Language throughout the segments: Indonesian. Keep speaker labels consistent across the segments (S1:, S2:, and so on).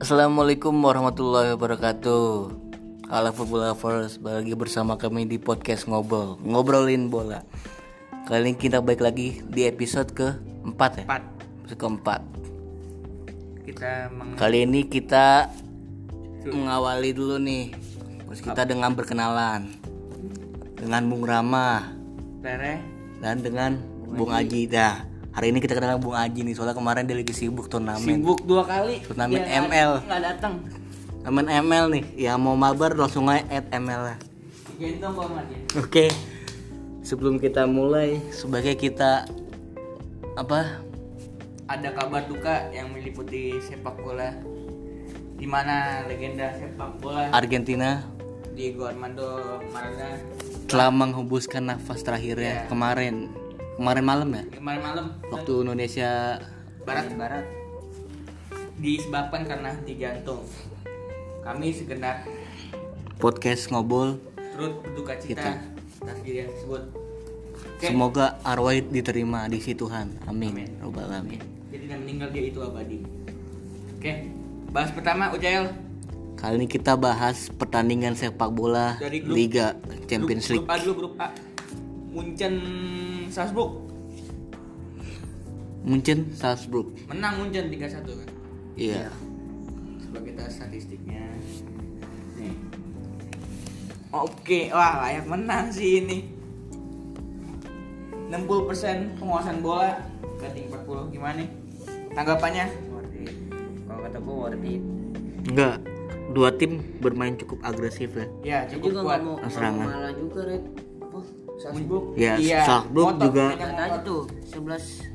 S1: Assalamualaikum warahmatullahi wabarakatuh. Halo football lovers, balik lagi bersama kami di podcast ngobrol, ngobrolin bola. Kali ini kita balik lagi di episode ke 4 ya.
S2: empat
S1: Episode keempat.
S2: kita meng
S1: Kali ini kita mengawali dulu nih. Terus kita dengan berkenalan dengan Bung Rama
S2: Rere
S1: dan dengan Bung Aji. Nah, hari ini kita kenalan Bung Aji nih soalnya kemarin dia lagi sibuk turnamen.
S2: sibuk dua kali
S1: Turnamen
S2: Dia nggak-
S1: ML.
S2: nggak datang
S1: Turnamen ML nih. Ya mau mabar langsung aja add ML lah.
S2: gendong gua sama dia
S1: Oke, sebelum kita mulai, sebagai kita apa?
S2: ada kabar duka yang meliputi sepak bola di mana legenda sepak bola
S1: Argentina
S2: Diego Armando Maradona
S1: telah menghembuskan nafas terakhirnya
S2: Iya.
S1: kemarin, kemarin malam ya,
S2: kemarin malam
S1: waktu Indonesia
S2: barat barat disebabkan karena di jantung kami segenap
S1: podcast ngobrol.
S2: turut berduka
S1: Kita.
S2: cita atas kejadian tersebut Oke.
S1: Semoga arwah diterima di sisi Tuhan. Amin.
S2: Amin.
S1: Robbal alamin.
S2: jadi tidak meninggal dia itu abadi oke bahas pertama Ujail
S1: Kali ini kita bahas pertandingan sepak bola
S2: Dari grup-
S1: Liga Champions
S2: grup,
S1: League.
S2: grup A dulu grup A Munchen Salzburg
S1: Munchen, Salzburg.
S2: menang Munchen 3-1 kan
S1: Iya.
S2: sebagai tas statistiknya nih oke wah layak menang sih ini 60% penguasaan bola banding 40 gimana nih tanggapannya
S3: kalau kata gue worth it
S1: Enggak. Dua tim bermain cukup agresif ya.
S2: ya
S3: Dia
S2: cukup
S3: juga
S2: kuat
S3: nggak mau nggak mau
S1: serangan.
S3: ngalah juga Red oh
S2: Salzburg Iya.
S1: Ya, Salzburg
S2: ngotot,
S1: juga.
S2: tidak
S3: lihat
S2: ngotot.
S3: aja tuh 11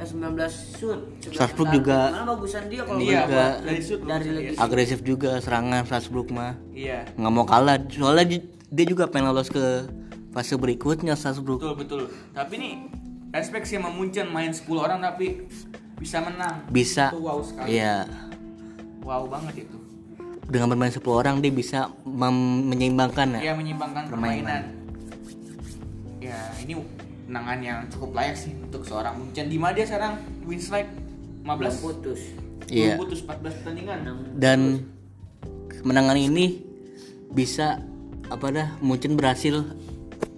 S3: eh 19 shoot 11
S1: Salzburg
S3: tendangan.
S1: juga-
S3: malah bagusan dia kalau
S2: Iya,
S1: juga.
S2: buat dari shoot
S3: Dari
S2: bagusan
S3: lagi.
S2: dia.
S1: Agresif juga serangan Salzburg mah.
S2: Iya,
S1: nggak mau kalah soalnya di- dia juga pengen lolos ke fase berikutnya Salzburg
S2: betul betul. Tapi nih respect sih sama Munchen main 10 orang tapi bisa menang.
S1: bisa
S2: Itu wow sekali.
S1: ya
S2: Wow banget itu.
S1: dengan bermain 10 orang dia bisa mem- menyeimbangkan ya
S2: Dia menyimbangkan permainan. Ya, ini menangan yang cukup layak sih untuk seorang Munchen. Di mana dia sekarang win streak 15
S3: putus
S1: Iya.
S2: belum putus 14 pertandingan.
S1: dan kemenangan ini bisa apa dah mungkin berhasil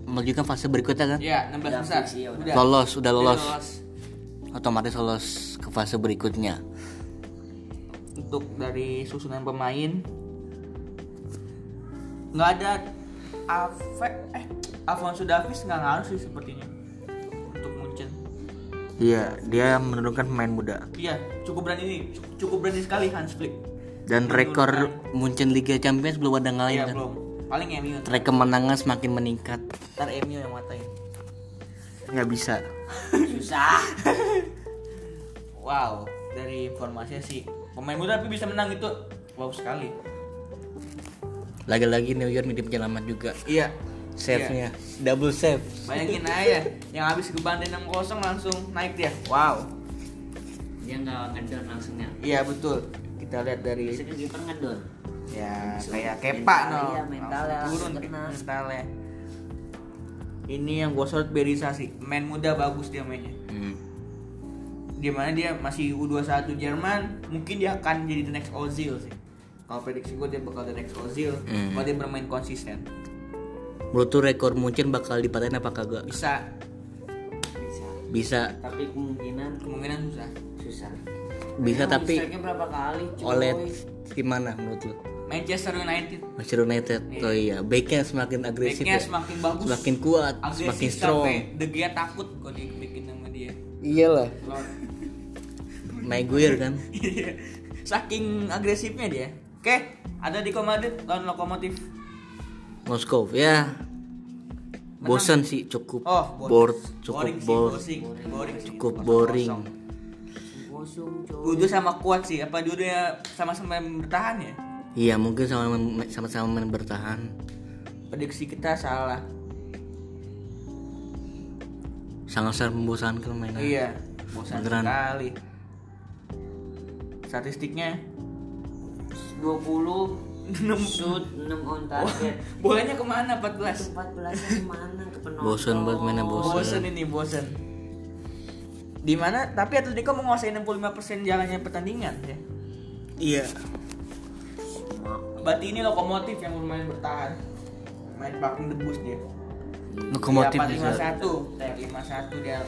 S1: melanjutkan fase berikutnya kan
S2: Ya, 16 besar.
S3: fix, iya, udah.
S2: Udah.
S1: lolos udah
S2: Udah
S1: lolos otomatis lolos ke fase berikutnya
S2: untuk dari susunan pemain nggak ada Ave eh Alfonso Davies nggak ngaruh sih sepertinya untuk Munchen
S1: iya dia menurunkan pemain muda
S2: iya cukup berani nih cu- cukup berani sekali Hans Flick
S1: dan rekor Munchen Liga Champions belum ada ngalahin
S2: iya
S1: kan
S2: belum paling MU ntar
S1: tren kemenangan semakin meningkat
S2: Ntar MU yang matain
S1: nggak bisa
S3: susah
S2: wow dari informasinya sih pemain muda tapi bisa menang itu wow sekali
S1: lagi-lagi New York minim penyelamat juga
S2: iya
S1: save-nya double save
S2: bayangin aja yang habis kebantai 6-0 langsung naik dia wow
S3: dia nggak ngedon ya. langsungnya
S2: iya betul kita lihat dari
S3: biasanya kiper kan ngedon
S2: ya kayak
S3: mental-
S2: kepa no
S3: iya, mentalnya
S2: Langsung turun
S3: langsung kena.
S2: mentalnya ini yang gue sorot berisasi main muda bagus dia mainnya
S1: Hmm.
S2: dimana dia masih U21 Jerman mungkin dia akan jadi the next Ozil sih kalau prediksi gue dia bakal the next Ozil
S1: Hmm.
S2: kalau dia bermain konsisten
S1: menurut tuh rekor Munchen bakal dipatain apa kagak
S2: bisa
S3: bisa
S1: bisa
S3: tapi kemungkinan
S2: kemungkinan susah
S3: susah
S1: bisa
S2: Iya,
S3: Emang
S1: tapi
S3: strike-nya berapa kali cuy?
S1: oleh gimana menurut lu
S2: Manchester United
S1: Manchester United oh iya backnya semakin agresif
S2: backnya
S1: ya.
S2: semakin bagus
S1: semakin kuat semakin strong
S2: sampai De Gea takut kalau dibikin sama dia
S1: iyalah
S2: Lawan-
S1: Maguire kan
S2: Iya. Saking agresifnya dia. Oke, ada di Madrid lawan Lokomotif.
S1: Moskow ya bosan sih cukup
S2: Oh,
S1: bored
S2: boring.
S1: cukup
S2: boring
S1: bored
S2: sih, boring. boring sih.
S1: cukup
S2: Kosong-kosong.
S1: boring
S3: Gosong, cuy.
S2: Gudu sama kuat sih, apa dua-duanya sama-sama bertahan ya?
S1: iya mungkin sama sama-sama main bertahan
S2: Prediksi kita salah.
S1: sangat-sangat membosankan mainnya
S2: Iya, bosan
S1: Nah. Beneran.
S2: sekali. Statistiknya
S3: 20 shoot 6 on target
S2: bolanya kemana 14?
S3: 14 kemana ke penonton
S1: Bosen banget mainnya, bosen.
S2: Bosen ini bosen. Di mana? Tapi Atletico menguasai 65% jalannya pertandingan ya.
S1: Iya.
S2: Berarti ini lokomotif yang lumayan bertahan. Main paling debus dia.
S1: Lokomotif
S2: Dia
S1: bisa.
S2: 451, Tep 51 dia.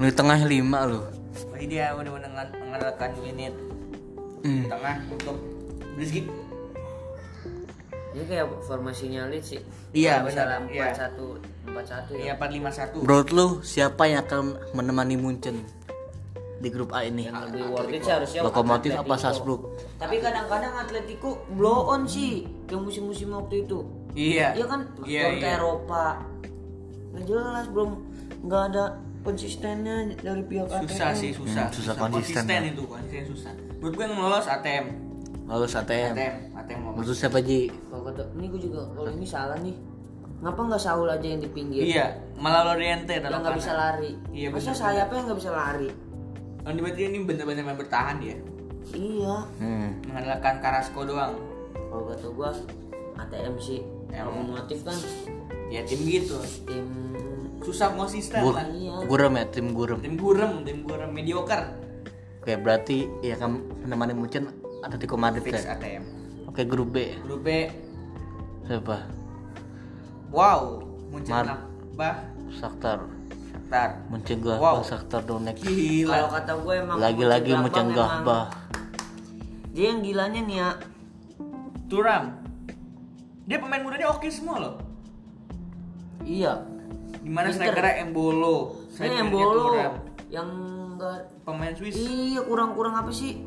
S1: Di tengah 5 loh.
S2: Berarti dia udah meneng- mengandalkan unit
S1: Hmm.
S2: tengah untuk Brizki.
S3: Ini kayak formasinya lead sih.
S2: Iya,
S3: Misalnya
S2: benar. Iya.
S3: empat satu empat satu
S2: Iya
S3: ya.
S2: 451.
S1: Menurut lu siapa yang akan menemani Munchen di grup A ini?
S3: Yang lebih worth it sih harusnya
S1: Lokomotif
S3: Atletico.
S1: apa Salzburg?
S3: Tapi kadang-kadang Atletico blow on sih yang musim-musim waktu itu.
S2: Iya.
S3: Iya kan
S2: Iya,
S3: turun ke
S2: iya.
S3: Eropa. Nggak jelas belum nggak ada konsistennya dari pihak
S2: Susah
S3: ATM.
S2: sih, susah.
S1: Hmm, susah konsisten, ya.
S2: itu, konsisten susah. Menurut gue yang lolos ATM.
S1: Lolos ATM.
S2: ATM, ATM lolos.
S1: Menurut lu siapa Ji?
S3: Kalau kata- ini gue juga kalau ini salah nih. Ngapa nggak Saul aja yang di pinggir?
S2: Iya, malah Loriente
S3: Yang nggak bisa lari.
S2: Iya,
S3: Masa
S2: benar.
S3: sayapnya nggak bisa lari?
S2: Yang berarti ini bener-bener main bertahan dia.
S3: Iya.
S1: Hmm.
S2: Mengandalkan Carrasco doang.
S3: Kalau kata gua ATM sih.
S2: Emang.
S3: Lokomotif kan
S2: Ya tim gitu.
S3: tim Iya.
S2: Susah konsisten
S1: Gur
S2: lah.
S1: gurem ya, tim gurem.
S2: Tim gurem, tim gurem mediocre.
S1: Oke, berarti ya akan menemani Munchen Atletico Madrid
S2: Fix
S1: ya.
S2: ATM.
S1: Oke, grup B.
S2: Grup B,
S1: Siapa?
S2: wow, muncul
S1: Mar-
S2: lah. Bah,
S1: Shakhtar.
S2: Shakhtar.
S1: Munchen Gladbach,
S2: Wow.
S1: Shakhtar Donetsk.
S3: kalau
S2: Gila.
S3: kata gue emang
S1: Lagi-lagi Munchen
S3: Mönchengladbach emang-
S1: Gladbach.
S3: Dia yang gilanya nih ya.
S2: Turam. Dia pemain mudanya oke semua loh.
S3: Iya.
S2: Dimana
S3: Pinter.
S2: strikernya Embolo,
S3: Ini
S2: strikernya
S3: yang bolo
S2: Thuram.
S3: yang enggak
S2: Pemain Swiss.
S3: Iya kurang-kurang apa sih?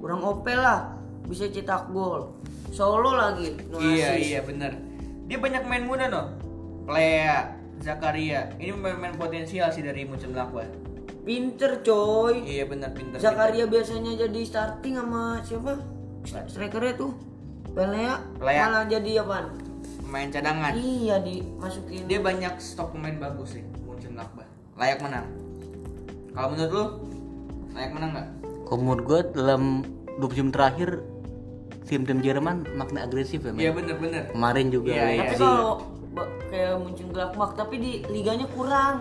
S3: Kurang OP lah. Bisa cetak gol. Solo lagi. no
S2: Iya
S3: assist.
S2: iya bener Dia banyak main muda noh Plea Zakaria Ini pemain potensial sih dari Munchen Blangkwan
S3: Pinter coy.
S2: Iya bener pinter
S3: Zakaria biasanya jadi starting sama siapa? Strikernya tuh. Pelea,
S2: Pelea.
S3: malah jadi apaan?
S2: pinter. Pemain cadangan
S3: Iya dimasukin.
S2: Dia banyak stok pemain bagus sih Munchen Blangkwan Layak menang Kalau menurut lu Layak menang nggak?
S1: Kalau menurut gue dalam 2 musim terakhir tim-tim Jerman makin agresif ya,
S2: Iya
S1: men.
S2: bener bener
S1: Kemarin juga
S2: Iya, iya.
S3: Tapi
S1: Leipzig.
S3: kalau ba- kayak muncul gelakmak tapi di liganya kurang.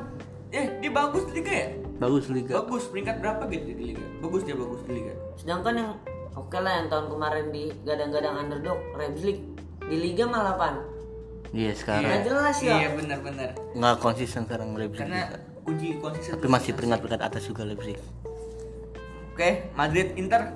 S2: Eh dia bagus di Liga ya?
S1: bagus liga.
S3: Oh.
S2: Bagus peringkat berapa gitu di Liga? Bagus dia bagus di Liga
S3: Sedangkan yang oke lah yang tahun kemarin di gadang-gadang underdog Leipzig di liga malah pan.
S1: Iya, sekarang
S3: Nggak jelas ya.
S2: Iya bener bener
S1: nggak konsisten sekarang Leipzig.
S2: Karena kunci konsisten
S1: Tapi masih peringkat-peringkat atas juga Leipzig.
S2: Oke Madrid Inter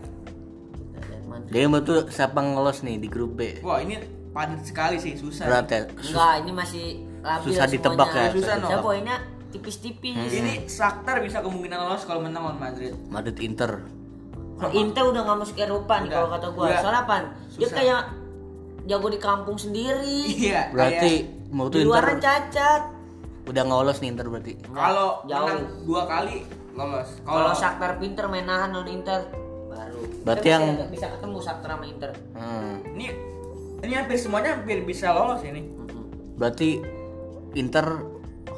S3: Kita lihat Madrid.
S1: Jadi menurut lu siapa ngelos nih di grup B?
S2: Wah ini padat sekali sih susah
S1: Berat ya.
S3: Enggak, ini masih labil
S1: Susah ditebak
S3: semuanya.
S1: ya, Hmm.
S2: susah
S3: Saya
S2: ditebak.
S3: poinnya tipis-tipis.
S2: Ini Shakhtar bisa kemungkinan lolos kalau menang lawan Madrid.
S1: Madrid Inter.
S3: Kalau Inter Nah, udah nggak masuk Eropa nih
S2: Udah.
S3: kalau kata gua.
S2: Udah.
S3: Soalnya pan, dia
S2: Iya. Susah.
S3: kayak jago di kampung sendiri.
S2: Iya.
S1: Berarti
S2: kayak
S1: menurut
S3: Di
S1: lu Inter
S3: luaran cacat.
S1: udah nggak lolos nih Inter berarti.
S2: kalau
S3: Jauh.
S2: menang dua kali lolos.
S3: Kalau Shakhtar pinter main nahan lawan Inter baru.
S1: Berarti
S3: Kita
S1: yang-
S3: bisa, bisa ketemu Shakhtar sama Inter.
S1: Hmm.
S2: ini ini hampir semuanya hampir bisa lolos ini.
S1: Berarti Inter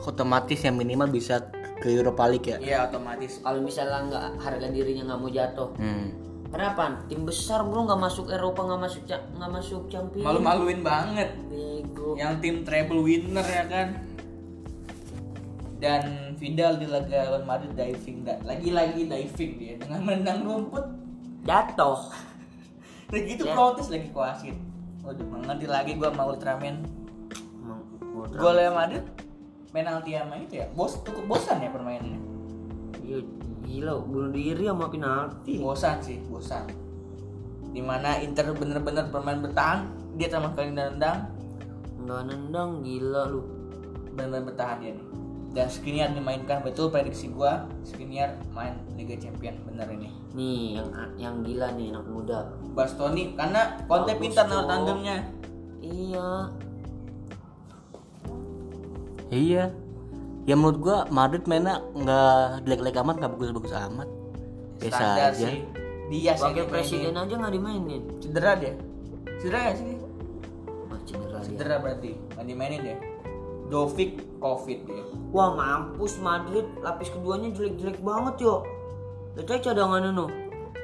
S1: otomatis yang minimal bisa ke Europa League ya.
S2: Iya otomatis.
S3: Kalau misalnya nggak harga dirinya nggak mau jatuh.
S1: Hmm.
S3: Kenapa? Tim besar bro nggak masuk Eropa nggak masuk ca- nggak masuk Champions.
S2: Malu-maluin banget.
S3: Bego.
S2: Yang tim treble winner ya kan. Dan Vidal di laga lawan Madrid diving da- lagi-lagi diving dia dengan menendang rumput.
S3: Jatuh.
S2: Dan itu
S3: Ya.
S2: protes lagi ke wasit. Waduh, nggak ngerti lagi gua sama Ultraman.
S3: Emang bodoh.
S2: Golnya Madrid penalti sama itu ya. Bos cukup bosan ya permainannya.
S3: Iya, gila bunuh diri sama penalti.
S2: bosan sih bosan dimana Inter bener-bener bermain bertahan dia sama sekali nggak nendang
S3: Nggak nendang gila lu.
S2: bener-bener bertahan dia nih dan Skriniar dimainkan betul prediksi gua Skriniar main Liga Champion bener ini
S3: Nih yang yang gila nih anak muda.
S2: Bastoni karena Conte
S3: Bagus,
S2: pintar naruh
S3: Cok.
S2: tandemnya
S3: Iya.
S1: Iya. Ya menurut gua Madrid mainnya nggak jelek-jelek amat, nggak bagus-bagus amat. Biasa
S2: standar
S1: aja.
S2: sih dia sih
S3: Wakil
S2: yang
S3: presiden Iya.
S2: dimainin.
S3: aja nggak dimainin.
S2: cedera dia cedera nggak sih dia?
S3: Wah, cedera dia.
S2: cedera berarti nggak dimainin deh Dovik covid dia
S3: Wah mampus Madrid lapis keduanya jelek-jelek banget yo. Itu aja cadangannya no.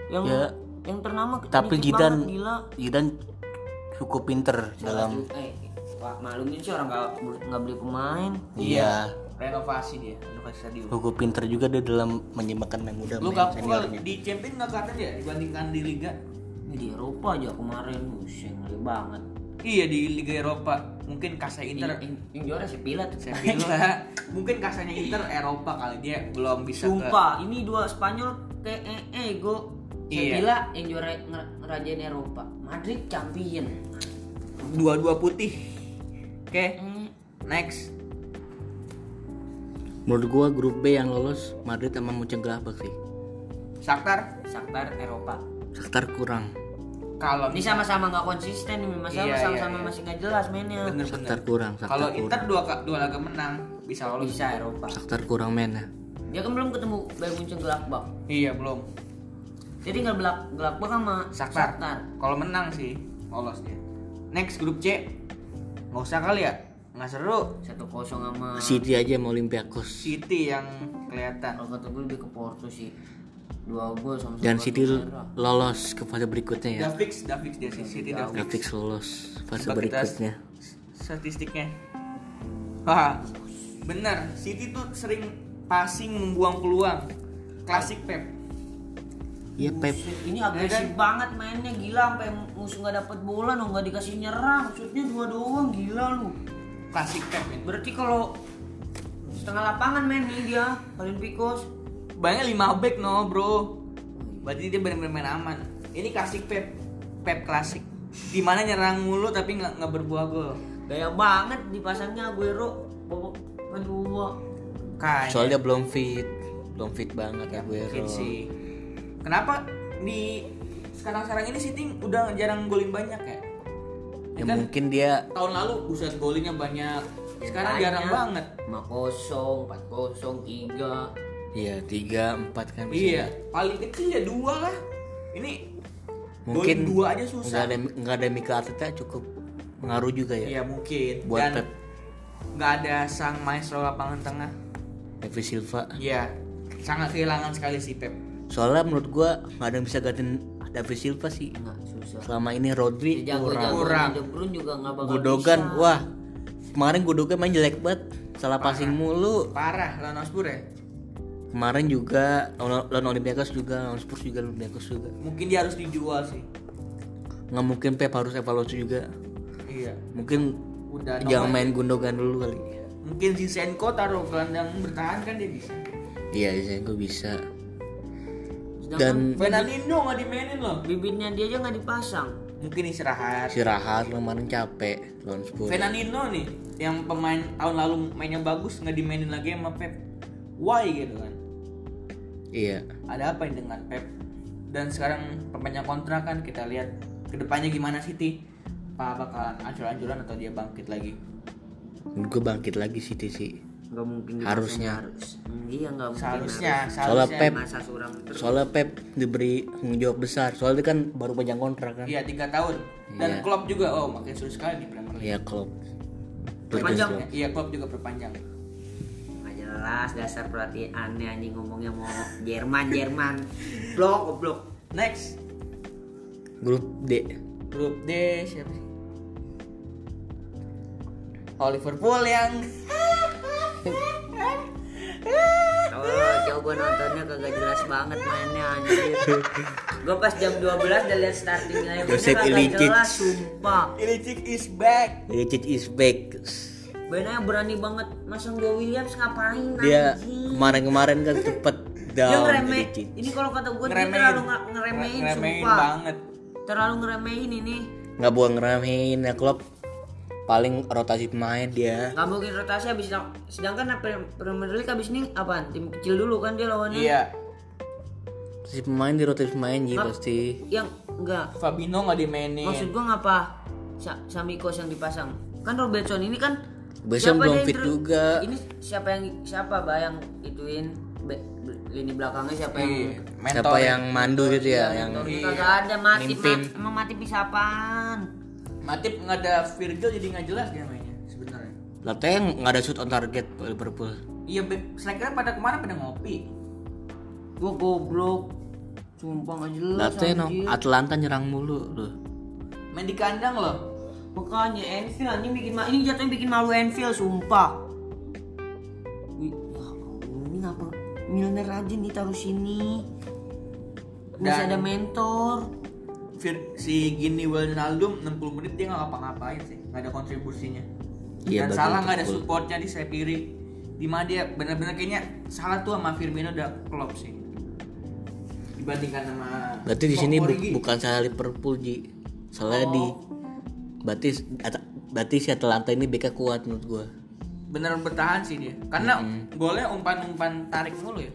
S3: Yang
S1: Ya.
S3: yang ternama
S1: Tapi
S3: dikit
S1: Jidan
S3: banget, gila.
S1: Jidan Iya, cukup pinter dalam
S3: eh Wah, maklumin sih orang nggak beli- nggak beli pemain.
S1: Iya.
S2: renovasi dia renovasi stadion
S1: cukup pinter juga dia dalam menyeimbangkan main gitu. muda
S2: lu
S1: iya, main
S2: gak
S1: seniornya.
S2: di champion nggak kata ya dibandingkan di liga
S3: Ini di Eropa aja kemarin pusing ngeri banget Iya.
S2: Iya di Liga Eropa mungkin kasa Inter
S1: Iya,
S3: yang, yang juara si Pilat
S2: Sevilla mungkin kasanya Inter Eropa kali dia belum bisa
S3: sumpah ini dua Spanyol TEE ego
S2: Iya.
S3: Sevilla yang juara nger- ngerajain Eropa Madrid champion
S2: ke dua-dua putih oke Eh,
S3: Hmm,
S2: next
S1: Menurut gua grup B yang lolos Madrid sama Mönchengladbach sih.
S2: Shakhtar
S3: Shakhtar Eropa
S1: Shakhtar kurang,
S2: kalau
S3: ini sama-sama nggak konsisten nih mas
S2: Iya, iya,
S3: sama-sama
S2: iya.
S3: masih nggak jelas mainnya
S1: Shakhtar
S2: bener-bener
S1: kurang,
S2: kalau
S1: Shakhtar Iya.
S2: Inter
S1: kurang.
S2: dua ka- dua laga menang bisa lolos
S3: bisa Eropa
S1: Shakhtar kurang men ya.
S3: dia kan belum ketemu Bayern Munchen Gladbach
S2: iya belum
S3: dia tinggal belak Gladbach sama
S2: Shakhtar.
S3: Shakhtar.
S2: Kalau menang sih lolos dia. Next grup C. Nggak usah kali ya. Nggak seru.
S3: satu kosong sama
S1: City aja sama Olympiakos.
S2: City yang kelihatan.
S3: kalau kata gue lebih ke Porto sih dua gol sama
S1: Dan
S3: sama
S1: City
S3: kartu
S1: l-
S3: merah.
S1: lolos ke fase berikutnya ya.
S2: Udah fix, udah fix dia sih City udah fix.
S1: Grafik lolos fase
S2: Coba kita
S1: berikutnya.
S2: s- Statistiknya. Wah, benar. City tuh sering passing membuang peluang. Klasik Pep.
S1: Iya Pep.
S3: Buset, ini agresif banget mainnya gila sampai musuh nggak dapet bola no nggak dikasih nyerang maksudnya dua doang gila lu
S2: Klasik Pep ini.
S3: berarti kalau setengah lapangan main nih dia Kalian Pikos
S2: Banyak 5 back no, Bro. Berarti dia benar-benar main aman. Ini klasik Pep. Pep klasik. Dimana nyerang mulu tapi nggak nggak berbuah gol.
S3: gaya banget dipasangnya Aguero bobok kedua
S2: Kayaknya.
S1: Soalnya belum fit, belum fit banget ya
S2: Mungkin
S1: Aguero.
S2: sih. Kenapa di sekarang-sekarang ini Siti udah jarang golin banyak ya?
S1: Ya
S2: Kan
S1: mungkin dia
S2: tahun lalu buset golinnya banyak. Sekarang
S3: Makanya,
S2: jarang banget.
S3: lima kosong empat kosong tiga
S1: ya 3 4 kan bisa.
S2: Iya, paling kecil ya dua lah. Ini
S1: Mungkin
S2: golin dua aja
S1: Enggak
S2: susah.
S1: ada enggak ada Mikel Arteta cukup pengaruh juga ya.
S2: Iya mungkin.
S1: Buat
S2: Dan
S1: Pep.
S2: nggak ada sang maestro lapangan tengah.
S1: David Silva.
S2: Iya, sangat kehilangan sekali si Pep.
S1: Soalnya menurut gua nggak ada yang bisa gantiin David Silva sih.
S3: nggak susah
S1: Selama ini Rodri
S3: jago
S1: kurang.
S3: jago
S2: Kurang.
S3: De Bruyne juga nggak bakal
S1: Gudogan,
S3: bisa.
S1: wah. Kemarin Gudogan main jelek banget. Salah passing mulu.
S2: Parah lawan Osbur ya.
S1: Kemarin juga lawan lawan Olympiakos juga, lawan Spurs juga, Olympiakos juga.
S2: Mungkin dia harus dijual sih.
S1: Nggak mungkin Pep harus evaluasi juga.
S2: Iya.
S1: Mungkin
S2: Udah
S1: jangan
S2: nomor-
S1: main Gundogan dulu kali.
S2: Mungkin Zinchenko taruh gelandang bertahan kan dia bisa.
S1: Iya, saya gue bisa.
S3: Sedangkan
S1: Dan
S2: Fernandinho nggak dimainin loh.
S3: bibitnya dia aja nggak dipasang
S2: Mungkin istirahat.
S1: istirahat kemarin capek lawan Spurs.
S2: Fernandinho nih yang pemain tahun lalu mainnya bagus nggak dimainin lagi sama Pep. Why gitu kan?
S1: Iya.
S2: Ada apa ini dengan Pep? Dan sekarang perpanjang kontrak kan kita lihat kedepannya gimana City. Apa bakalan ancur-ancuran atau dia bangkit lagi?
S1: Gue bangkit lagi City sih.
S3: nggak mungkin dipasang,
S1: Harusnya.
S3: harus Hmm, iya nggak mungkin
S2: Seharusnya,
S1: Soalnya
S2: seharusnya.
S1: Pep
S3: masa suram terus
S1: soalnya Pep diberi tanggung jawab besar. Soalnya dia kan baru panjang kontrak kan.
S2: Iya tiga tahun. Dan
S1: Iya.
S2: Klopp juga, oh makin seru sekali di Premier League.
S1: Iya, Klopp.
S3: Perpanjang.
S1: Klopp.
S2: Iya Klopp juga perpanjang.
S3: nggak jelas dasar perhatiannya anjing ngomongnya mau Jerman Jerman blok blok
S2: Next
S1: Grup D.
S2: grup D siapa sih? Oh Liverpool yang
S3: oh jauh gue nontonnya kagak jelas banget mainnya anjir gue pas jam 12 udah liat starting line
S1: Josep
S3: kagak
S1: Ilicic.
S3: jelas sumpah
S2: Ilicic is back.
S1: Ilicic is back.
S3: Benar berani banget masang Joe Williams ngapain
S1: Dia Oh,
S3: anjing?
S1: kemarin-kemarin kan cepet
S3: dia
S1: down
S3: ngereme
S1: Ilicic.
S3: ini kalau kata gue dia
S2: Ngeremein.
S3: terlalu nge- ngeremein,
S2: Ngeremein
S3: sumpah Hmm?
S2: banget.
S3: terlalu ngeremein ini
S1: Nggak buang ngeramein ya Klopp. Paling rotasi pemain dia.
S3: nggak mungkin rotasi habis lang- sedangkan Pre- Premier League habis ini apaan tim kecil dulu kan dia lawannya
S2: Iya.
S1: Si pemain di rotasi pemain sih pasti.
S3: yang enggak
S2: Fabinho nggak
S1: Iya.
S2: dimainin.
S3: maksud gue ngapa Sa Samikos yang dipasang kan Robertson ini kan
S1: Robertson
S3: siapa
S1: belum
S3: dia yang
S1: fit
S3: ter-
S1: juga.
S3: ini siapa yang siapa bayang ituin Be- be- lini belakangnya
S2: Iya,
S3: siapa
S1: Iya.
S3: yang
S1: Siapa yang mandu gitu ya, yang
S3: Ini kagak ada mati
S1: Mimpin.
S3: ma- emang mati bisa apaan
S2: Matip nggak ada Virgil jadi nggak jelas dia mainnya sebenarnya.
S1: Lateng nggak ada shoot on target Liverpool.
S2: Iya, back- striker pada kemarin pada ngopi.
S3: gua goblok sumpah nggak jelas
S1: Lateng
S3: anjir.
S1: Atlanta nyerang mulu loh.
S2: Main di kandang loh.
S3: Makanya Enfield anjing bikin ma- ini jatuhnya bikin malu Enfield sumpah. Ih, Ya Allah, ini ngapa Milner rajin ditaruh sini? Masih
S2: Dan-
S3: ada mentor.
S2: Fir- si Gini Wijnaldum 60 menit dia nggak ngapa-ngapain sih nggak ada kontribusinya
S1: Iya,
S2: dan
S1: bagi
S2: salah nggak ada
S1: Liverpool.
S2: supportnya di Sepiri di mana dia benar-benar kayaknya salah tuh sama Firmino udah klop sih dibandingkan sama
S1: Berarti di sini bu-
S2: Origi.
S1: bukan salah Liverpool Ji. Salahnya
S2: Oh.
S1: di berarti At- berarti si Atalanta ini BK kuat menurut gua.
S2: bener bertahan sih dia karena golnya umpan-umpan tarik mulu ya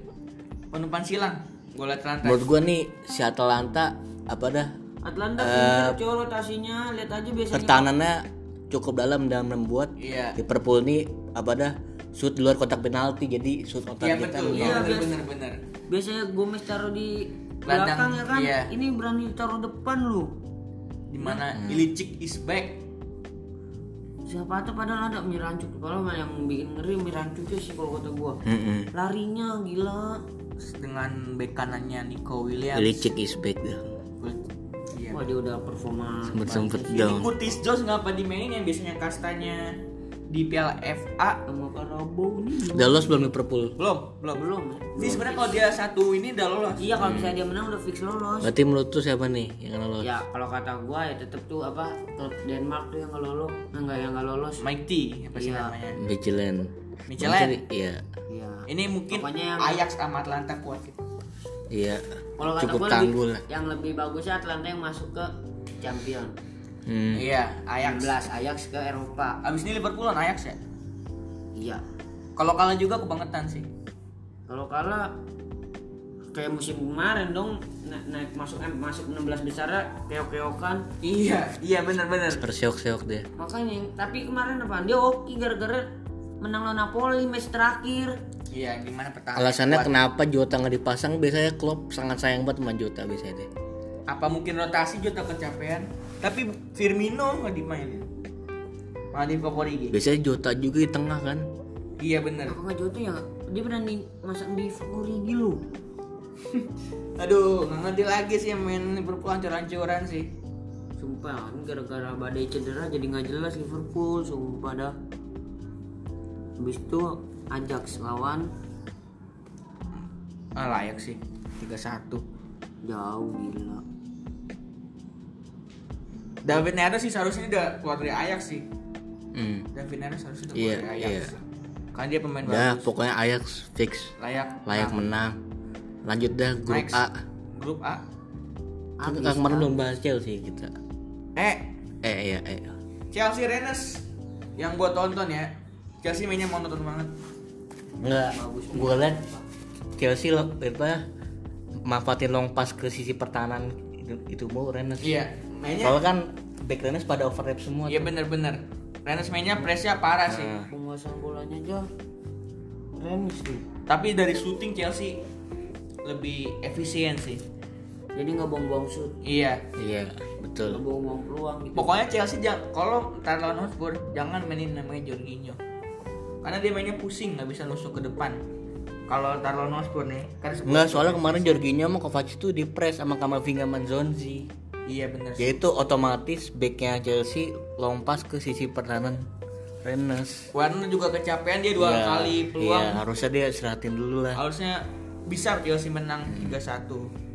S2: umpan-umpan silang gol Atlanta
S1: Menurut gua nih si Atalanta apa dah
S3: Atlanta
S2: Eh,
S3: pinter cowok rotasinya lihat aja biasanya
S1: pertahanannya cukup dalam dan membuat
S2: iya
S1: Liverpool ini apa dah shoot di luar kotak penalti jadi shoot on
S2: iya
S1: target
S2: betul
S1: kan.
S2: iya
S3: Iya, biasa.
S2: bener-bener
S3: biasanya Gomez taruh di
S2: Belakang,
S3: belakang ya kan
S2: iya.
S3: ini berani taruh depan lu
S2: dimana Ilicic is back
S3: siapa tuh padahal ada mirancuk kalau yang bikin ngeri mirancuknya sih kalau kata gua
S1: Mm-mm.
S3: larinya gila
S2: dengan bek kanannya Nico Williams
S1: Ilicic is back dah.
S2: Iya.
S3: wah dia udah performa
S1: Sempet sempet
S2: Ini
S1: down.
S2: Curtis Jones ngapa dimainin yang biasanya kastanya di Piala FA
S3: sama Karabau nih
S1: Udah lolos belum Liverpool?
S2: belum belum belum.
S3: belum ya?
S2: Ini sebenarnya kalau dia satu ini udah lolos.
S3: iya kalau
S1: Hmm.
S3: misalnya dia menang udah fix lolos
S1: Berarti menurut tuh siapa nih yang akan lolos?
S3: ya kalau kata gua ya tetep tuh apa klub Denmark tuh yang nggak lolos enggak yang nggak lolos
S2: Mike T apa sih
S3: Iya.
S2: namanya?
S1: Michelin.
S2: Michelin?
S1: Mungkin- Iya.
S3: iya
S2: Ini mungkin
S3: Pokoknya-
S2: Ajax sama Atlanta kuat gitu.
S1: Iya.
S3: kalau kata
S1: Cukup
S3: gua
S1: tanggul
S3: lebih,
S1: lah.
S3: yang lebih bagusnya Atlanta yang masuk ke champion
S1: Hmm.
S2: Iya, Ajax.
S3: 16 Ajax ke Eropa
S2: Abis ini Liverpool lawan Ajax ya.
S3: iya
S2: Kalau kalah juga kebangetan sih.
S3: kalau kalah kayak musim kemarin dong na- naik masuk eh, masuk 16 besar keok-keokan
S2: Iya, iya benar-benar.
S1: Perseok-seok deh.
S3: makanya tapi kemarin apa dia oke gara-gara menang lawan Napoli match terakhir
S2: Iya, gimana
S3: Ah,
S2: pertahanan?
S1: Alasannya
S2: kuat.
S1: kenapa Jota nggak dipasang biasanya Klopp sangat sayang banget sama Jota biasanya deh.
S2: apa mungkin rotasi Jota kecapean? Tapi Firmino nggak dimainin. Malah di Origi.
S1: Biasanya Jota juga di tengah kan.
S2: Iya benar.
S3: apa nggak jatuh ya dia pernah di masak gitu. di Origi lu
S2: Aduh, nggak ngerti lagi sih yang main Liverpool hancur-hancuran sih.
S3: sumpah ini gara-gara badai cedera jadi nggak jelas Liverpool sumpah dah habis itu Ajax lawan
S2: Ah, layak sih. 3-1.
S3: jauh gila
S2: David Neres sih seharusnya udah keluar dari Ajax sih.
S1: Hmm.
S2: David Neres harusnya udah
S1: Iya,
S2: keluar dari Ajax.
S1: iya.
S2: Kan dia pemain
S1: Dah
S2: bagus.
S1: Ya, pokoknya Ajax fix
S2: Layak.
S1: layak menang. Lanjut dah grup
S2: Next.
S1: A.
S2: Grup A.
S1: Kan kemarin belum bahas Chelsea kita.
S2: Eh,
S1: Eh iya eh.
S2: Chelsea Rennes yang gua tonton ya. Chelsea mainnya monoton banget.
S1: Enggak. Gua liat Chelsea lo apa manfaatin long pass ke sisi pertahanan itu, itu mau Rennes.
S2: Iya, mainnya
S1: Soalnya kan back Rennes pada overlap semua.
S2: Iya
S1: tuh.
S2: bener-bener Rennes mainnya pressnya parah sih
S1: Ya.
S3: penguasaan bolanya aja remis tuh
S2: Tapi dari shooting Chelsea lebih efisien sih
S3: jadi nggak buang-buang shoot
S2: Iya
S1: Iya, betul.
S3: nggak buang-buang peluang gitu
S2: Pokoknya Chelsea jangan kalau ntar lawan Hotspur jangan mainin namanya Jorginho. Karena dia mainnya pusing nggak bisa nusuk ke depan. Kalau ntar lawan Hotspur nih kan
S1: Enggak, soalnya kemarin Jorginho sama Kovacic itu di press sama Kamavinga Manzonzi.
S2: Iya bener. sih.
S1: Yaitu otomatis backnya Chelsea lompas ke sisi pertahanan Rennes.
S2: Warner juga kecapean dia dua
S1: Ya,
S2: kali peluang.
S1: Iya, harusnya dia istirahatin dulu lah.
S2: Harusnya bisa Chelsea menang 3-1.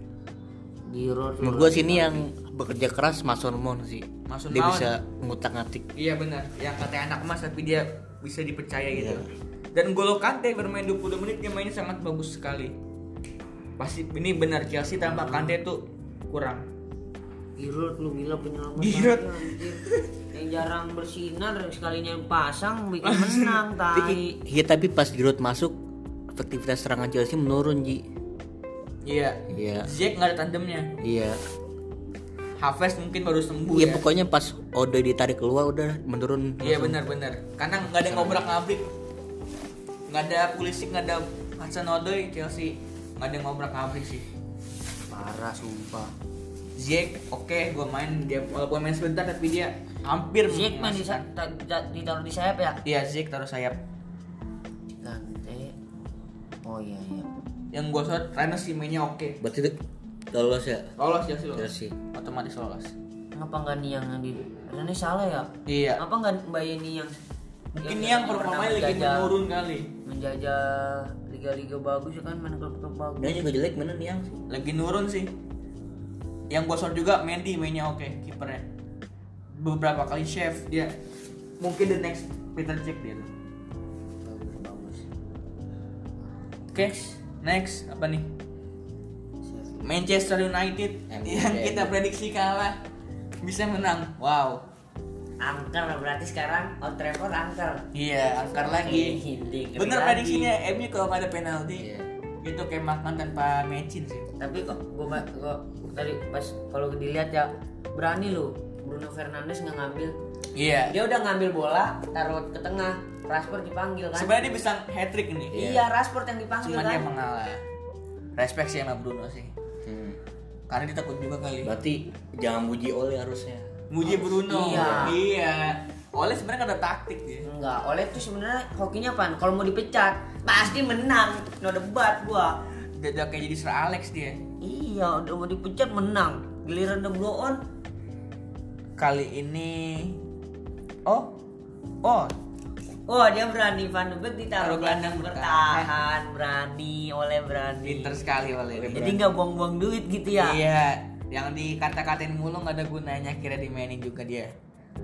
S3: di road
S1: Menurut gua sini yang bekerja keras Mason Mount sih.
S2: Mason
S1: dia
S2: Mount.
S1: bisa ngutak-ngatik.
S2: Iya benar, yang katanya anak emas tapi dia bisa dipercaya gitu.
S1: Iya.
S2: Dan Golo Kante bermain 20 menit dia mainnya sangat bagus sekali. Pasti ini benar Chelsea tanpa Kante tuh kurang.
S3: di road lu gila penyelamat
S2: Giroud.
S3: aja, anjir. yang jarang bersinar sekalinya yang pasang bikin menang tai
S1: Iya, tapi pas Giroud masuk efektivitas serangan Chelsea menurun, Ji.
S2: Iya.
S1: Iya.
S2: Ziyech nggak ada tandemnya.
S1: Iya.
S2: Haves mungkin baru sembuh
S1: Iya,
S2: ya.
S1: pokoknya pas Odoi ditarik keluar udah menurun.
S2: Iya benar-benar. Karena nggak ada ngobrak ngabrik, nggak ada polisi, nggak ada Hudson Odoi Chelsea nggak ada ngobrak ngabrik sih.
S3: parah sumpah
S2: Ziyech oke, gue main dia walaupun main sebentar tapi dia hampir
S3: Ziyech main di
S2: memasukkan.
S3: sa- ta- ta- ditaruh di sayap ya
S2: Iya Ziyech taruh sayap.
S3: Kante oh iya iya
S2: yang gue sorot Rennes sih mainnya oke
S1: Berarti itu lolos ya?
S2: lolos ya sih lolos
S1: Chelsea.
S2: otomatis lolos
S3: kenapa nggak nih yang di Rene salah ya
S2: iya
S3: apa nggak Mbak Yeni yang
S2: mungkin yang performanya lagi
S3: menjajah-
S2: menurun kali
S3: menjajah liga-liga bagus ya kan main klub-klub bagus
S1: Dia juga jelek mana nih yang
S2: lagi nurun sih yang gue sor juga Mendy mainnya oke kipernya beberapa kali chef dia Iya. mungkin the next Peter Cech dia tuh.
S3: bagus bagus
S2: oke next apa nih
S3: Siap.
S2: Manchester United
S1: MU
S2: yang
S1: Derby.
S2: kita prediksi kalah bisa menang wow
S3: angker berarti sekarang on Trafford angker
S2: iya angkar lagi
S3: Hindi, ngeri
S2: bener
S3: lagi.
S2: prediksinya MU kalau nggak ada penalti
S1: Iya.
S2: itu kayak makan tanpa mecin sih
S3: tapi kok gue kok tadi pas kalau dilihat ya berani lu Bruno Fernandes nggak ngambil
S2: iya
S3: dia udah ngambil bola taruh ke tengah Rashford dipanggil kan
S2: sebenarnya dia bisa hat trick nih
S3: iya Rashford yang dipanggil
S2: cuman dia
S3: kan
S2: mengalah respect sih sama Bruno sih
S1: Hmm.
S2: karena dia takut juga kali
S1: Berarti jangan muji oleh harusnya.
S2: muji Bruno
S3: Iya.
S2: iya oleh sebenarnya nggak ada taktik dia
S3: enggak oleh tuh sebenarnya hokinya pan kalau mau dipecat pasti menang no debat gua
S2: udah, udah kayak jadi Sir Alex dia
S3: iya udah mau dipecat menang giliran udah blow on
S2: kali ini oh oh
S3: Wah dia berani Van de Beek ditaruh
S2: Taruh gelandang
S3: bertahan berani oleh berani
S2: pinter sekali oleh
S3: jadi nggak buang-buang duit gitu ya
S2: Iya, yang dikata-katain mulu nggak ada gunanya kira dimainin juga dia.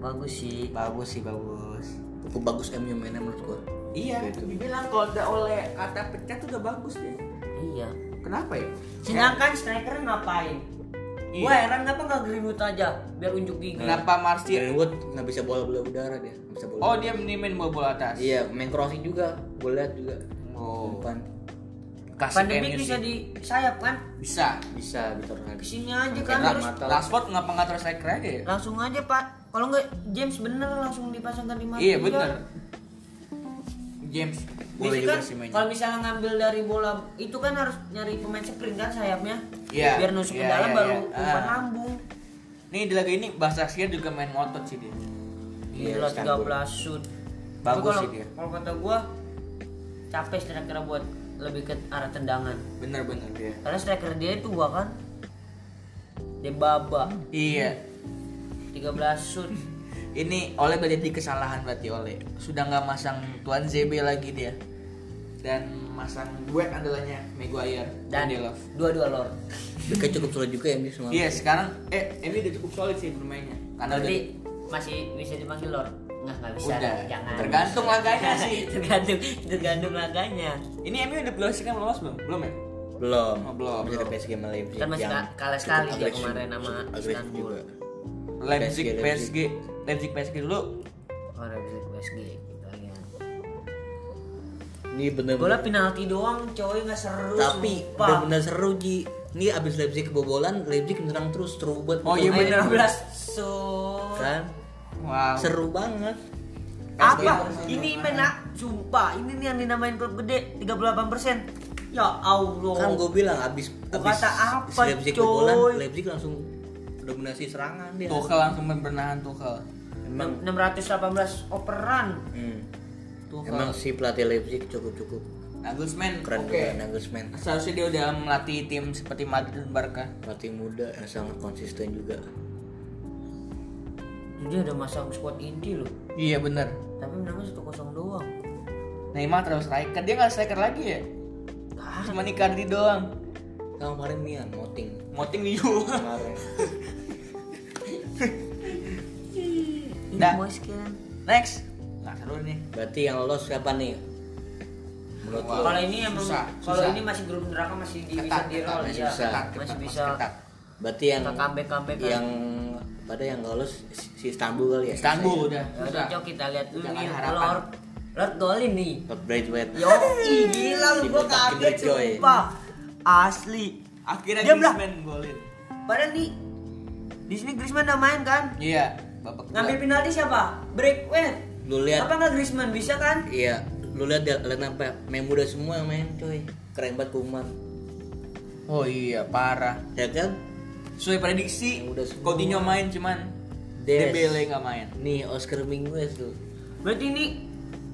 S3: bagus sih
S2: Bagus sih bagus.
S1: Cukup bagus MU mainnya menurut gua.
S2: Iya,
S1: Gitu.
S2: dibilang kalau udah oleh kata pecah tuh udah bagus deh.
S3: iya
S2: Kenapa ya?
S3: sedangkan striker ngapain
S2: Iya. Nah,
S3: Gua heran kenapa nggak Greenwood aja biar unjuk gigi
S2: Kenapa Martial?
S1: Greenwood nggak bisa bola bola udara dia, nggak bisa bola.
S2: Oh dia ini main bola, bola atas.
S1: Iya, main crossing juga, gue lihat juga.
S2: Oh.
S1: Umpan.
S2: Kasih
S3: pandemi
S2: MU sih.
S3: bisa di sayap kan
S2: bisa.
S1: Bisa Victor Hagi.
S3: kesini aja kan
S1: Enak.
S3: terus
S1: Mata.
S2: Rashford ngapa nggak terus striker aja ya?
S3: langsung aja pak kalau nggak James bener langsung dipasangkan di mata
S2: Iya bener. James boleh juga
S3: kan,
S2: sih mainnya.
S3: kalau misalnya ngambil dari bola itu kan harus nyari pemain sprint kan sayapnya
S2: Iya.
S3: biar nusuk
S2: Iya,
S3: ke dalam
S2: iya,
S3: baru
S2: iya.
S3: umpan
S2: Ah.
S3: lambung
S2: Nih di laga ini Basaksehir juga main ngotot sih dia. kan?
S1: Iya,
S3: gila
S1: Istanbul.
S3: 13 shoot Tapi
S2: Bagus
S3: kalau-
S2: sih dia.
S3: kalau kata gua capek striker buat lebih ke arah tendangan
S2: Bener-bener dia.
S3: karena striker dia itu gua kan Debaba
S2: Iya,
S3: 13 shoot
S2: Ini oleh berarti kesalahan berarti oleh sudah nggak masang Tuan ZB lagi dia dan masang duet andalannya Maguire
S3: dan
S2: Lindelof.
S3: dua-dua lor
S1: Mereka cukup solid juga ya, MU semalam.
S2: Iya sekarang eh ini udah cukup solid sih bermainnya karena udah,
S3: berarti masih bisa dipanggil lor nggak nggak bisa
S2: udah.
S3: jangan
S2: tergantung laganya sih.
S3: tergantung tergantung laganya
S2: Ini Emi udah lolos kan lolos belum? Belum ya?
S1: Belum.
S2: Oh, belum,
S1: Habis ada
S2: belum.
S1: PSG sama Leipzig.
S3: Kan masih
S1: yang
S3: ka- kalah sekali
S1: cukup
S3: dia
S1: agresif-
S3: kemarin sama
S1: cukup agresif
S3: Istanbul.
S1: juga.
S2: Leipzig
S1: PSG.
S2: PSG Leipzig PSG dulu.
S3: orang bisa PSG gitu ya
S1: Ini bener-bener
S3: bola penalti doang coy nggak seru
S1: tapi
S3: sumpah.
S1: bener-bener seru Ji. Ini abis Leipzig kebobolan, Leipzig menyerang terus seru banget.
S2: Oh, iya,
S1: Betul.
S2: bener.
S3: Ayat 12 so
S1: Kan?
S2: Wow.
S1: Seru banget.
S3: apa ini mana sumpah ini nih yang dinamain klub gede 38% ya
S2: Oh.
S3: Allah
S1: Kan gue bilang abis
S3: Gua
S1: abis
S3: kata apa,
S1: Leipzig
S3: coy?
S1: kebobolan, Leipzig langsung dominasi serangan dia.
S2: Tuchel langsung bernahan Tuchel.
S1: Emang
S3: 618 operan
S1: hmm.
S2: Tuchel.
S1: Emang si pelatih Leipzig cukup-cukup
S2: Nagelsmann.
S1: keren
S2: oke.
S1: juga Nagelsmann.
S2: Seharusnya dia udah melatih tim seperti Madrid dan Barca.
S1: Pelatih muda yang sangat konsisten juga.
S3: jadi udah masang squad inti loh
S2: Iya bener.
S3: tapi menangnya 1-0 doang
S2: Neymar terus striker dia nggak striker lagi ya
S3: Ah,
S2: cuma Icardi doang
S1: Sama kemarin Mian, Moting.
S2: moting Liu
S1: Kemarin.
S3: ini
S2: Dah.
S3: mau sekian
S2: next nggak seru nih
S1: Berarti yang lolos siapa nih? Menurut
S2: Wah.
S1: lo?
S3: kalau ini emang
S2: Oh, Susah,
S3: kalau
S2: susah.
S3: ini masih grup neraka masih di,
S2: Ketat,
S3: bisa di
S2: ketat,
S3: roll
S1: masih
S3: ya
S1: bisa.
S3: masih
S2: Ketat,
S3: bisa
S2: ketat. Iya.
S1: Berarti yang
S3: ke kan. comeback comeback
S1: yang pada yang nggak lolos si si Istanbul kali ya.
S2: Istanbul udah
S3: Ya udah
S2: susah
S3: Cok kita lihat dulu
S2: Jangan
S3: nih
S2: harapan.
S3: Lord Lord golin nih
S1: Not Braithwaite.
S3: Yo gila lu gua
S1: Dibentak
S3: kaget
S1: Kinder Joy.
S3: sumpah Asli
S2: akhirnya
S3: Diam lah.
S2: Griezmann golin
S3: Padahal nih di sini Griezmann udah main kan
S2: iya Iya. babak
S3: Ngambil penalti siapa? Breakwell
S1: Lu lihat
S3: Apa nggak Griezmann bisa kan?
S1: iya, lu lihat dia lihat apa? Main muda semua yang main, coy. Keren banget Kuman.
S2: kedua. oh iya parah
S1: Ya kan?
S2: sesuai prediksi
S1: Ya udah semua.
S2: Coutinho main cuman
S1: Des.
S2: Dembele nggak main
S1: Nih Oscar Minguez tuh.
S3: Berarti ini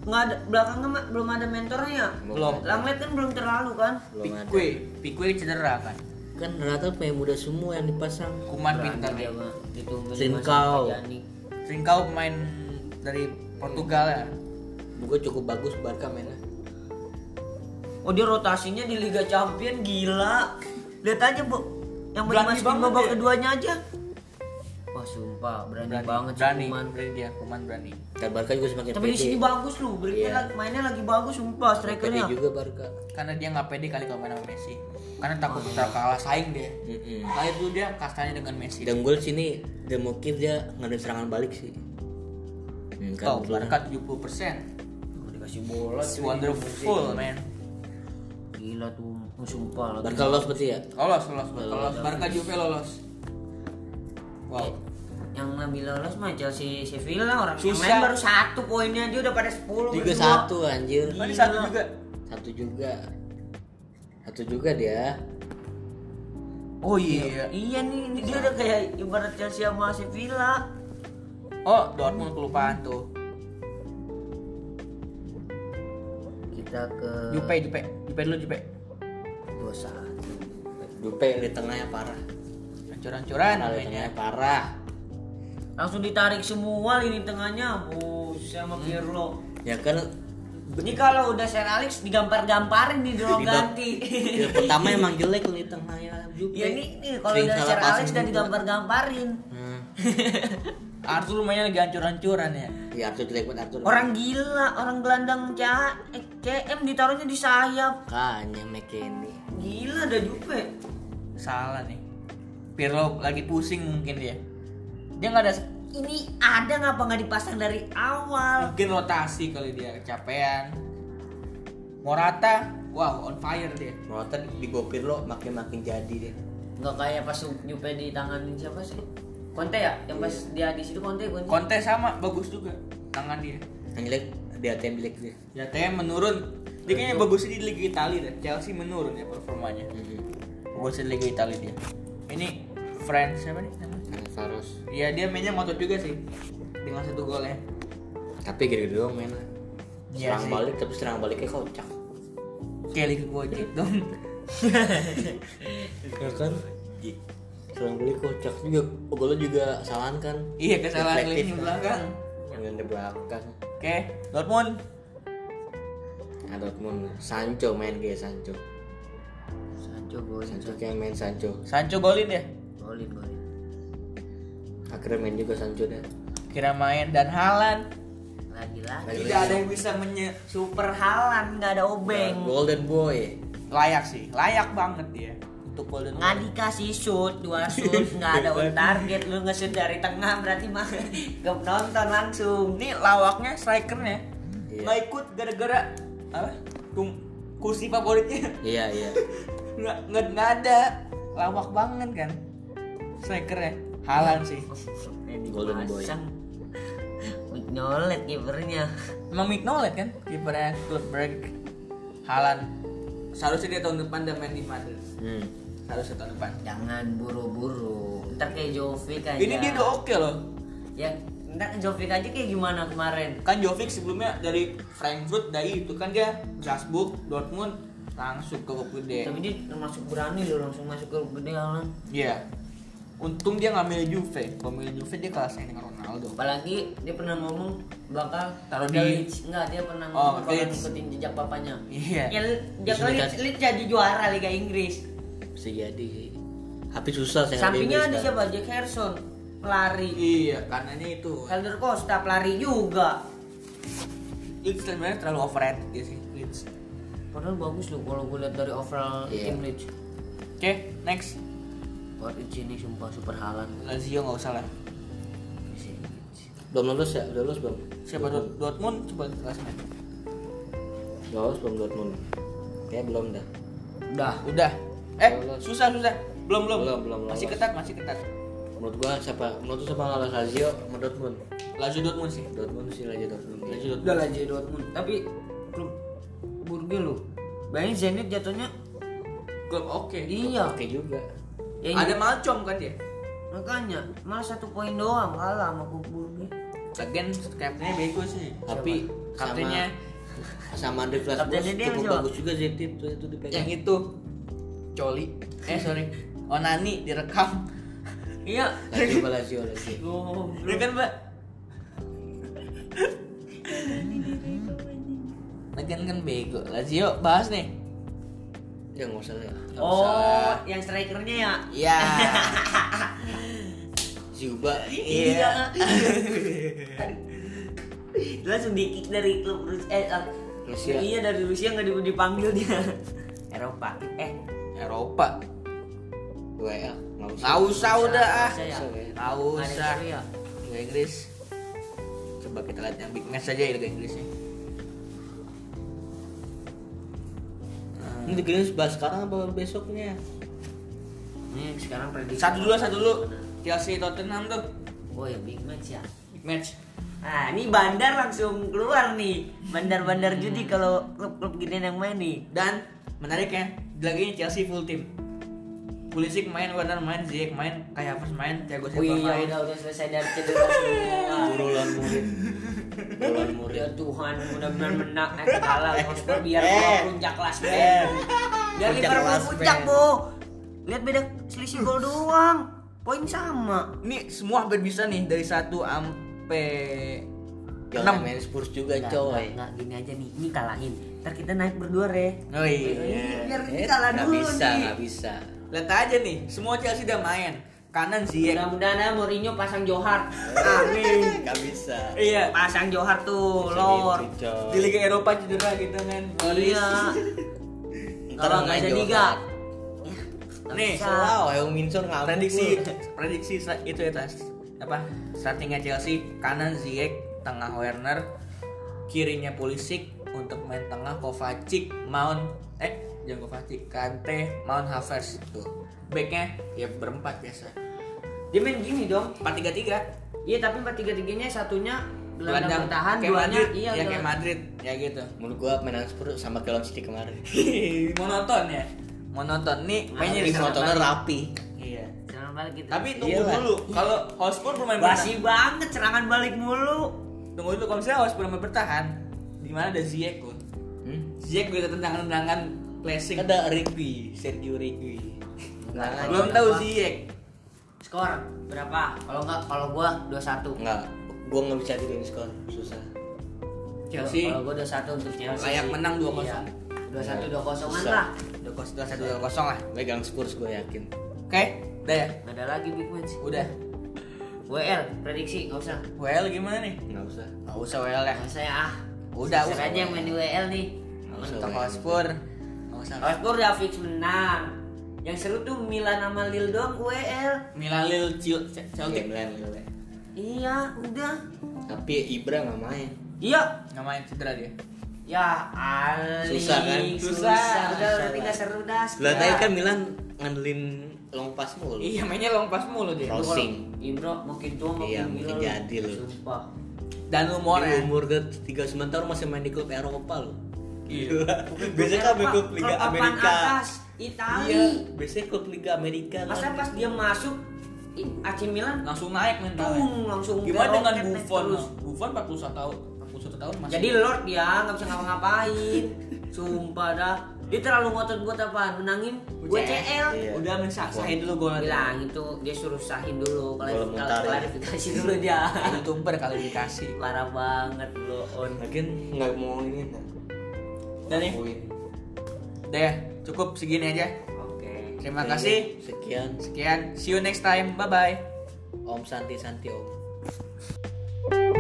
S3: nggak ada belakangnya mah, belum ada mentornya.
S2: Belum.
S3: Langlet kan belum terlalu kan?
S1: Belum ada.
S2: Pique Pique cedera kan
S1: Kan rata pemain muda semua yang dipasang.
S2: Kuman pinter nih
S3: Berani dia Gitu, mah. Itu
S1: Trincao.
S2: Trincao pemain dari Portugal ya
S1: Gue cukup bagus Barca mainnya.
S3: Oh dia rotasinya di Liga Champion gila. Lihat aja bu, yang mau
S2: Berani
S3: dimasukin
S2: banget
S3: babak
S2: dia.
S3: keduanya aja wah sumpah berani, banget sih
S2: berani,
S3: Kuman.
S2: berani dia Kuman berani
S1: Dan Barca juga semakin
S3: tapi
S1: Iya, pede.
S3: di
S1: Iya.
S3: sini bagus lu berikutnya lagi- mainnya lagi bagus sumpah
S1: Pede
S3: strikernya
S1: juga Barca.
S2: karena dia nggak pede kali kalau main sama Messi karena takut terlalu kalah saing dia
S1: Mm-mm.
S2: kali itu dia kastanya dengan Messi
S1: Dan gol sini dan mungkin dia ngadep serangan balik sih. Hmm,
S2: Kau
S1: kan Barca.
S2: Barca 70 persen
S3: dikasih bola
S2: It's wonderful man
S3: gila tuh Oh, sumpah lagi
S1: Barca lolos berarti ya.
S2: Lolos, lolos, lolos Barca Juve lolos Wow
S3: yang lebih lolos mah Chelsea Sevilla orang
S2: Susah.
S3: yang lain baru satu poinnya dia udah pada 10
S1: Tiga
S3: berdua.
S1: satu anjir.
S2: Ini satu juga
S1: Satu juga. Satu juga dia.
S2: Oh iya
S3: iya nih ini dia udah kayak ibarat Chelsea sama Sevilla
S2: Oh Dortmund kelupaan tuh
S3: kita ke
S2: Jupe, Jupe Jupe dulu Jupe
S3: dua satu
S1: Dupe di tengahnya parah.
S2: Hancur-hancuran
S1: Parah di
S2: namanya
S1: tengahnya parah.
S3: langsung ditarik semua lini tengahnya Buset
S2: Hmm.
S3: sama Pirlo
S1: Ya kan
S3: ini kalau udah Sen Alex digampar-gamparin di ruang
S1: Di bab-
S3: ganti
S1: ya, pertama emang jelek di tengahnya Jupe.
S3: ya ini nih kalau
S1: Sering
S3: udah
S1: salah
S3: Sen
S1: passing
S3: Alex dan
S1: juga.
S3: digampar-gamparin
S1: Hmm.
S2: Arthur mainnya lagi hancur-hancuran ya
S1: Ya Arthur jelek banget Arthur.
S3: orang gila orang gelandang CA eh, CM ditaruhnya di sayap
S1: Kayaknya McKinney.
S3: gila ada Jupe
S2: Salah nih Pirlo lagi pusing mungkin dia Dia nggak ada
S3: ini ada ngapa nggak dipasang dari awal
S2: Mungkin rotasi kali dia kecapean Morata Wow on fire dia
S1: Morata di Gopir lo makin makin jadi deh.
S3: nggak kayak pas Jupe di tangan siapa sih Conte ya yang pas dia di situ Conte Conte
S2: Conte sama bagus juga tangan dia
S1: Yang jelek di ATM jelek dia.
S2: Ya TM menurun Dia kayaknya bagusnya di Liga Italia deh Chelsea menurun ya performanya
S1: Mm-hmm.
S2: Bagusnya di Liga Italia dia Ini Friends siapa nih namanya?
S1: Saros.
S2: Iya dia mainnya ngotot juga sih Dengan satu ya. golnya
S1: Tapi gede doang mainnya.
S2: Iya
S1: Serang
S2: sih.
S1: balik tapi serang baliknya kocak.
S2: Kelly ke Gojek dong
S1: Ya kan? Serang balik kocak juga. Golnya juga salah kan.
S2: Iya kesalahan
S1: Reflektif
S2: lini
S1: kan.
S2: belakang
S1: Yang di belakang.
S2: Oke Dortmund
S1: Nah, Dortmund Sancho main kayak Sancho.
S3: Sancho golin
S1: Sancho kayak main Sancho.
S2: Sancho golin ya
S3: golin golin
S1: Akhirnya main juga Sancho deh.
S2: Kira main dan Halan
S3: lagi lagi
S2: Tidak ada yang bisa menye
S3: super halan nggak ada obeng
S1: Golden Boy.
S2: Layak sih Layak banget dia Untuk Golden
S3: nggak dikasih shoot dua shoot nggak ada on target lu nge-shoot dari tengah berarti mah gak nonton langsung
S2: Ini lawaknya strikernya
S1: Iya.
S2: nggak ikut gara-gara apa? Kum- kursi favoritnya
S1: Iya iya.
S2: nggak nggak nggak ada lawak banget kan strikernya halan sih
S1: Golden Boy.
S3: Pasang. nyolet kipernya
S2: emang Mignolet kan kipernya klub break halan seharusnya dia tahun depan udah main di Madrid
S1: Hmm.
S2: seharusnya tahun depan
S3: jangan buru-buru ntar kayak Jovic aja
S2: ini dia udah oke loh
S3: ya ntar Jovic aja kayak gimana kemarin
S2: kan Jovic sebelumnya dari Frankfurt dari itu kan dia Salzburg Dortmund langsung ke klub gede
S3: tapi dia termasuk berani loh langsung masuk ke gede Alan.
S2: iya untung dia nggak milih Juve kalau milih Juve dia kalah saing dengan Ronaldo
S3: apalagi dia pernah ngomong bakal
S2: Taruh
S3: ke
S2: di-
S3: Leeds. enggak dia pernah
S2: Oh,
S3: ngomong
S2: ke
S3: bakal
S2: Leeds.
S3: ngikutin jejak papanya
S2: Iya.
S3: ya dia
S1: Bisa
S3: ke Leeds,
S1: dikasih.
S3: Leeds jadi juara Liga Inggris
S1: Bisa jadi. Tapi susah saya
S3: sampingnya ada
S1: ngambil Inggris,
S3: siapa Jack Harrison pelari
S2: iya karenanya itu
S3: Helder Costa pelari juga
S2: Leeds sebenarnya terlalu overrated dia sih Leeds
S3: padahal bagus loh kalau gue lihat dari overall
S1: Iya.
S3: tim Leeds
S2: oke next
S3: buat ini sumpah super halan
S2: Lazio nggak usah lah
S1: Kak. Belum lulus ya? Udah lulus belum?
S2: siapa Dort- Dortmund coba kelasnya
S1: Udah lulus belum Dortmund? Kayak belum dah.
S3: udah
S2: udah eh
S1: Lolos.
S2: susah susah belum belum
S1: Belum, belum,
S2: masih
S1: lolos.
S2: ketat masih ketat
S1: Menurut gua siapa? Menurut lu siapa ngalah Lazio sama Dortmund?
S2: Lazio Dortmund sih
S1: Dortmund sih Lazio Dortmund.
S2: Lazio
S3: udah
S2: Dortmund
S3: lah jadi Dortmund tapi klub Burge loh bayangin Zenit jatuhnya
S2: klub oke
S3: iya
S1: Oke juga.
S3: Ya,
S2: ada Malcom kan dia
S3: makanya malah satu poin doang kalah sama klub Burge
S2: Lagian kaptennya bego sih
S1: Tapi
S2: kaptennya
S1: sama Andre Glasgow
S3: Kaptennya dia
S1: cukup
S3: siapa?
S1: bagus juga Zenit itu itu dipegang.
S2: yang itu Coli eh sorry Onani direkam iya
S1: Lazio apa Lazio Lazio.
S2: Ini kan mbak Lagian kan bego Lazio bahas nih
S1: Ya nggak usah lah. Nggak usah.
S3: Oh, yang strikernya ya?
S1: Ya. Zuba.
S3: Iya. Langsung di kick dari klub Rusia. Eh, ah,
S1: Rusia.
S3: Iya dari Rusia nggak di- dipanggil dia. Eropa. Eh,
S2: Eropa
S1: WL. ya, Nggak usah.
S2: nggak usah udah ah
S3: Rusia ya?
S2: nggak
S3: Nggak ada
S2: usah
S3: Korea.
S2: Liga Inggris coba kita lihat yang big match aja ya Liga Inggrisnya
S1: Ini dikirim bahas sekarang apa besoknya?
S3: Ini sekarang prediksi.
S2: satu dulu satu dulu Chelsea Tottenham tuh
S3: Oh ya big match ya.
S2: big match
S3: Nah, ini bandar langsung keluar nih. Bandar-bandar judi kalau klub-klub gini yang main nih.
S2: dan menariknya lagi ini Chelsea full team Pulisic main, Werner main, Ziyech main, Kai Havertz main, Thiago
S3: Oh
S2: Silva
S3: iya,
S2: main.
S3: udah udah selesai dari cedera semua.
S1: Burulan murid. Burulan murid.
S3: Ya Tuhan, mudah-mudahan menang eh kalah Hotspur biar gua
S2: Eh.
S3: puncak
S2: Eh.
S3: klasmen. Biar
S2: Puncak
S3: Liverpool
S2: klasmen.
S3: puncak, Bu. Lihat beda selisih gol doang. Poin sama.
S2: Ini semua hampir bisa nih dari 1 sampai
S3: Ya,
S1: Jangan
S2: 6.
S1: main Spurs juga
S3: Nggak, nggak,
S1: coy.
S3: nggak, gini aja nih. Ini kalahin. Ntar kita naik berdua, Re.
S2: Oh
S3: Ini
S2: iya.
S3: biar kita kalah
S1: Eh, Nggak
S3: dulu
S1: bisa,
S3: nih.
S1: nggak bisa.
S2: Lihat aja nih, semua Chelsea udah main. Kanan Ziyech.
S3: Mudah-mudahan ya Mourinho pasang Johar.
S2: Amin.
S1: Nggak bisa.
S2: Iya.
S3: Pasang Johar tuh, Lor.
S1: Gitu, coy.
S2: Di Liga Eropa cedera gitu kan.
S3: Iya.
S1: Ntar
S3: Kalau nggak
S1: main
S3: ada
S1: Johar.
S3: liga. Ya, nggak
S2: Nih,
S3: bisa.
S1: Wow, Oh, Heung Minson ngambek.
S2: Prediksi prediksi sa- itu ya tas apa? Startingnya Chelsea kanan Ziyech, tengah Werner, kirinya Pulisic untuk main tengah Kovacic, Mount eh jangan Kovacic, Kante, Mount Havertz tuh. Backnya ya berempat biasa.
S3: Dia main gini dong.
S2: 4-3-3
S3: Iya tapi empat tiga tiganya satunya
S2: gelandang
S3: gelandang bertahan,
S2: kayak
S3: duanya
S2: Madrid,
S3: iya
S2: ya kayak
S3: gelandang-
S2: Madrid ya gitu.
S1: Menurut gua mainan Spurs sama Kelon City kemarin.
S2: monoton ya. Monoton nih
S3: Iya,
S2: mainnya
S1: Tapi
S2: di
S1: motornya
S2: monoton.
S1: rapi.
S2: Iya.
S3: Serangan balik gitu.
S2: Tapi tunggu
S1: Iyalah.
S2: dulu kalau Hotspur bermain
S3: basi banget serangan balik mulu.
S2: Tunggu dulu kalau misalnya harus benar bertahan. Di mana ada Ziyech kun?
S1: Hmm?
S2: Ziyech beda tendangan-tendangan placing.
S1: Ada Rigby, Sergio Rigby. Nah,
S2: Belum
S3: Ada
S2: tahu
S3: apa?
S2: Ziyech.
S3: Skor berapa? Kalau enggak kalau gua 21.
S1: Enggak, gua nggak bisa tidurin skor, susah.
S2: Chelsea
S3: Kalau gua 21 untuk Chelsea.
S2: Layak
S3: sih.
S2: menang 2-0.
S3: Iya. 21 2-0-an
S1: Susah.
S3: lah.
S2: udah kos dua satu dua kosong lah.
S1: Megang Spurs gua yakin.
S2: Oke, udah ya.
S3: Gak ada lagi big match.
S2: Udah.
S3: WL prediksi enggak usah.
S2: WL gimana nih?
S1: Nggak usah.
S2: Gak usah WL ya.
S3: Enggak saya ah.
S2: Udah,
S3: Saya
S2: usah
S3: aja yang main di WL nih.
S1: Nggak usah.
S2: Untuk
S1: WL.
S2: Hotspur. Nggak usah.
S3: Hotspur udah fix menang. Yang seru tuh Milan sama Lille doang WL.
S2: Milan Lil Cil- Ce-
S1: Oke,
S2: Celtic
S1: Milan, Milan.
S3: Iya, udah.
S1: Tapi Ibra nggak main.
S3: Iya.
S2: nggak main cedera dia.
S3: Ya, Ali.
S1: Susah kan?
S3: Susah.
S2: Susah.
S3: Udah,
S1: Susah
S3: berarti
S1: lah.
S3: nggak seru dah.
S1: Lah tadi
S3: Ya.
S1: kan Milan ngandelin long pass mulu.
S2: Iya mainnya long pass mulu dia.
S1: Cross. crossing.
S3: Imbro makin tua makin
S1: Iya,
S3: gila
S1: mungkin
S3: lu.
S1: jadi lu.
S3: Sumpah.
S2: Dan
S1: Di
S2: umurnya.
S1: umur ke 39 tahun masih main di klub Eropa loh.
S2: Iya.
S1: biasanya kan main klub Liga
S3: Klub papan
S1: Amerika.
S3: atas Itali.
S1: Iya, biasanya klub Liga Amerika
S3: Masa
S1: kan.
S3: pas dia masuk I- AC Milan
S2: Langsung naik mentalnya.
S1: ya.
S3: tung langsung
S2: Gimana dengan
S3: roket naik
S2: Buffon?
S3: terus.
S2: Buffon 41 tahun, 41 tahun masih.
S3: Jadi Lord ya nggak bisa ngapa-ngapain. Sumpah dah. Dia terlalu ngotot buat apaan? Menangin WCL.
S1: Iya.
S2: udah mensahin dulu golnya.
S3: bilang itu dia suruh sahin dulu
S1: Belum
S3: klarifikasi,
S1: mentar, ya.
S3: klarifikasi dulu dia
S2: youtuber kalau dikasih
S3: parah banget lo on
S1: Lagian nggak mau ini nggak
S2: Dan ya,
S3: Eh,
S1: Lakuin.
S2: udah ya, cukup segini aja.
S3: oke
S2: Terima kasih.
S1: Sekian
S2: Sekian, see you next time. Bye bye.
S1: Om Santi Santi Om.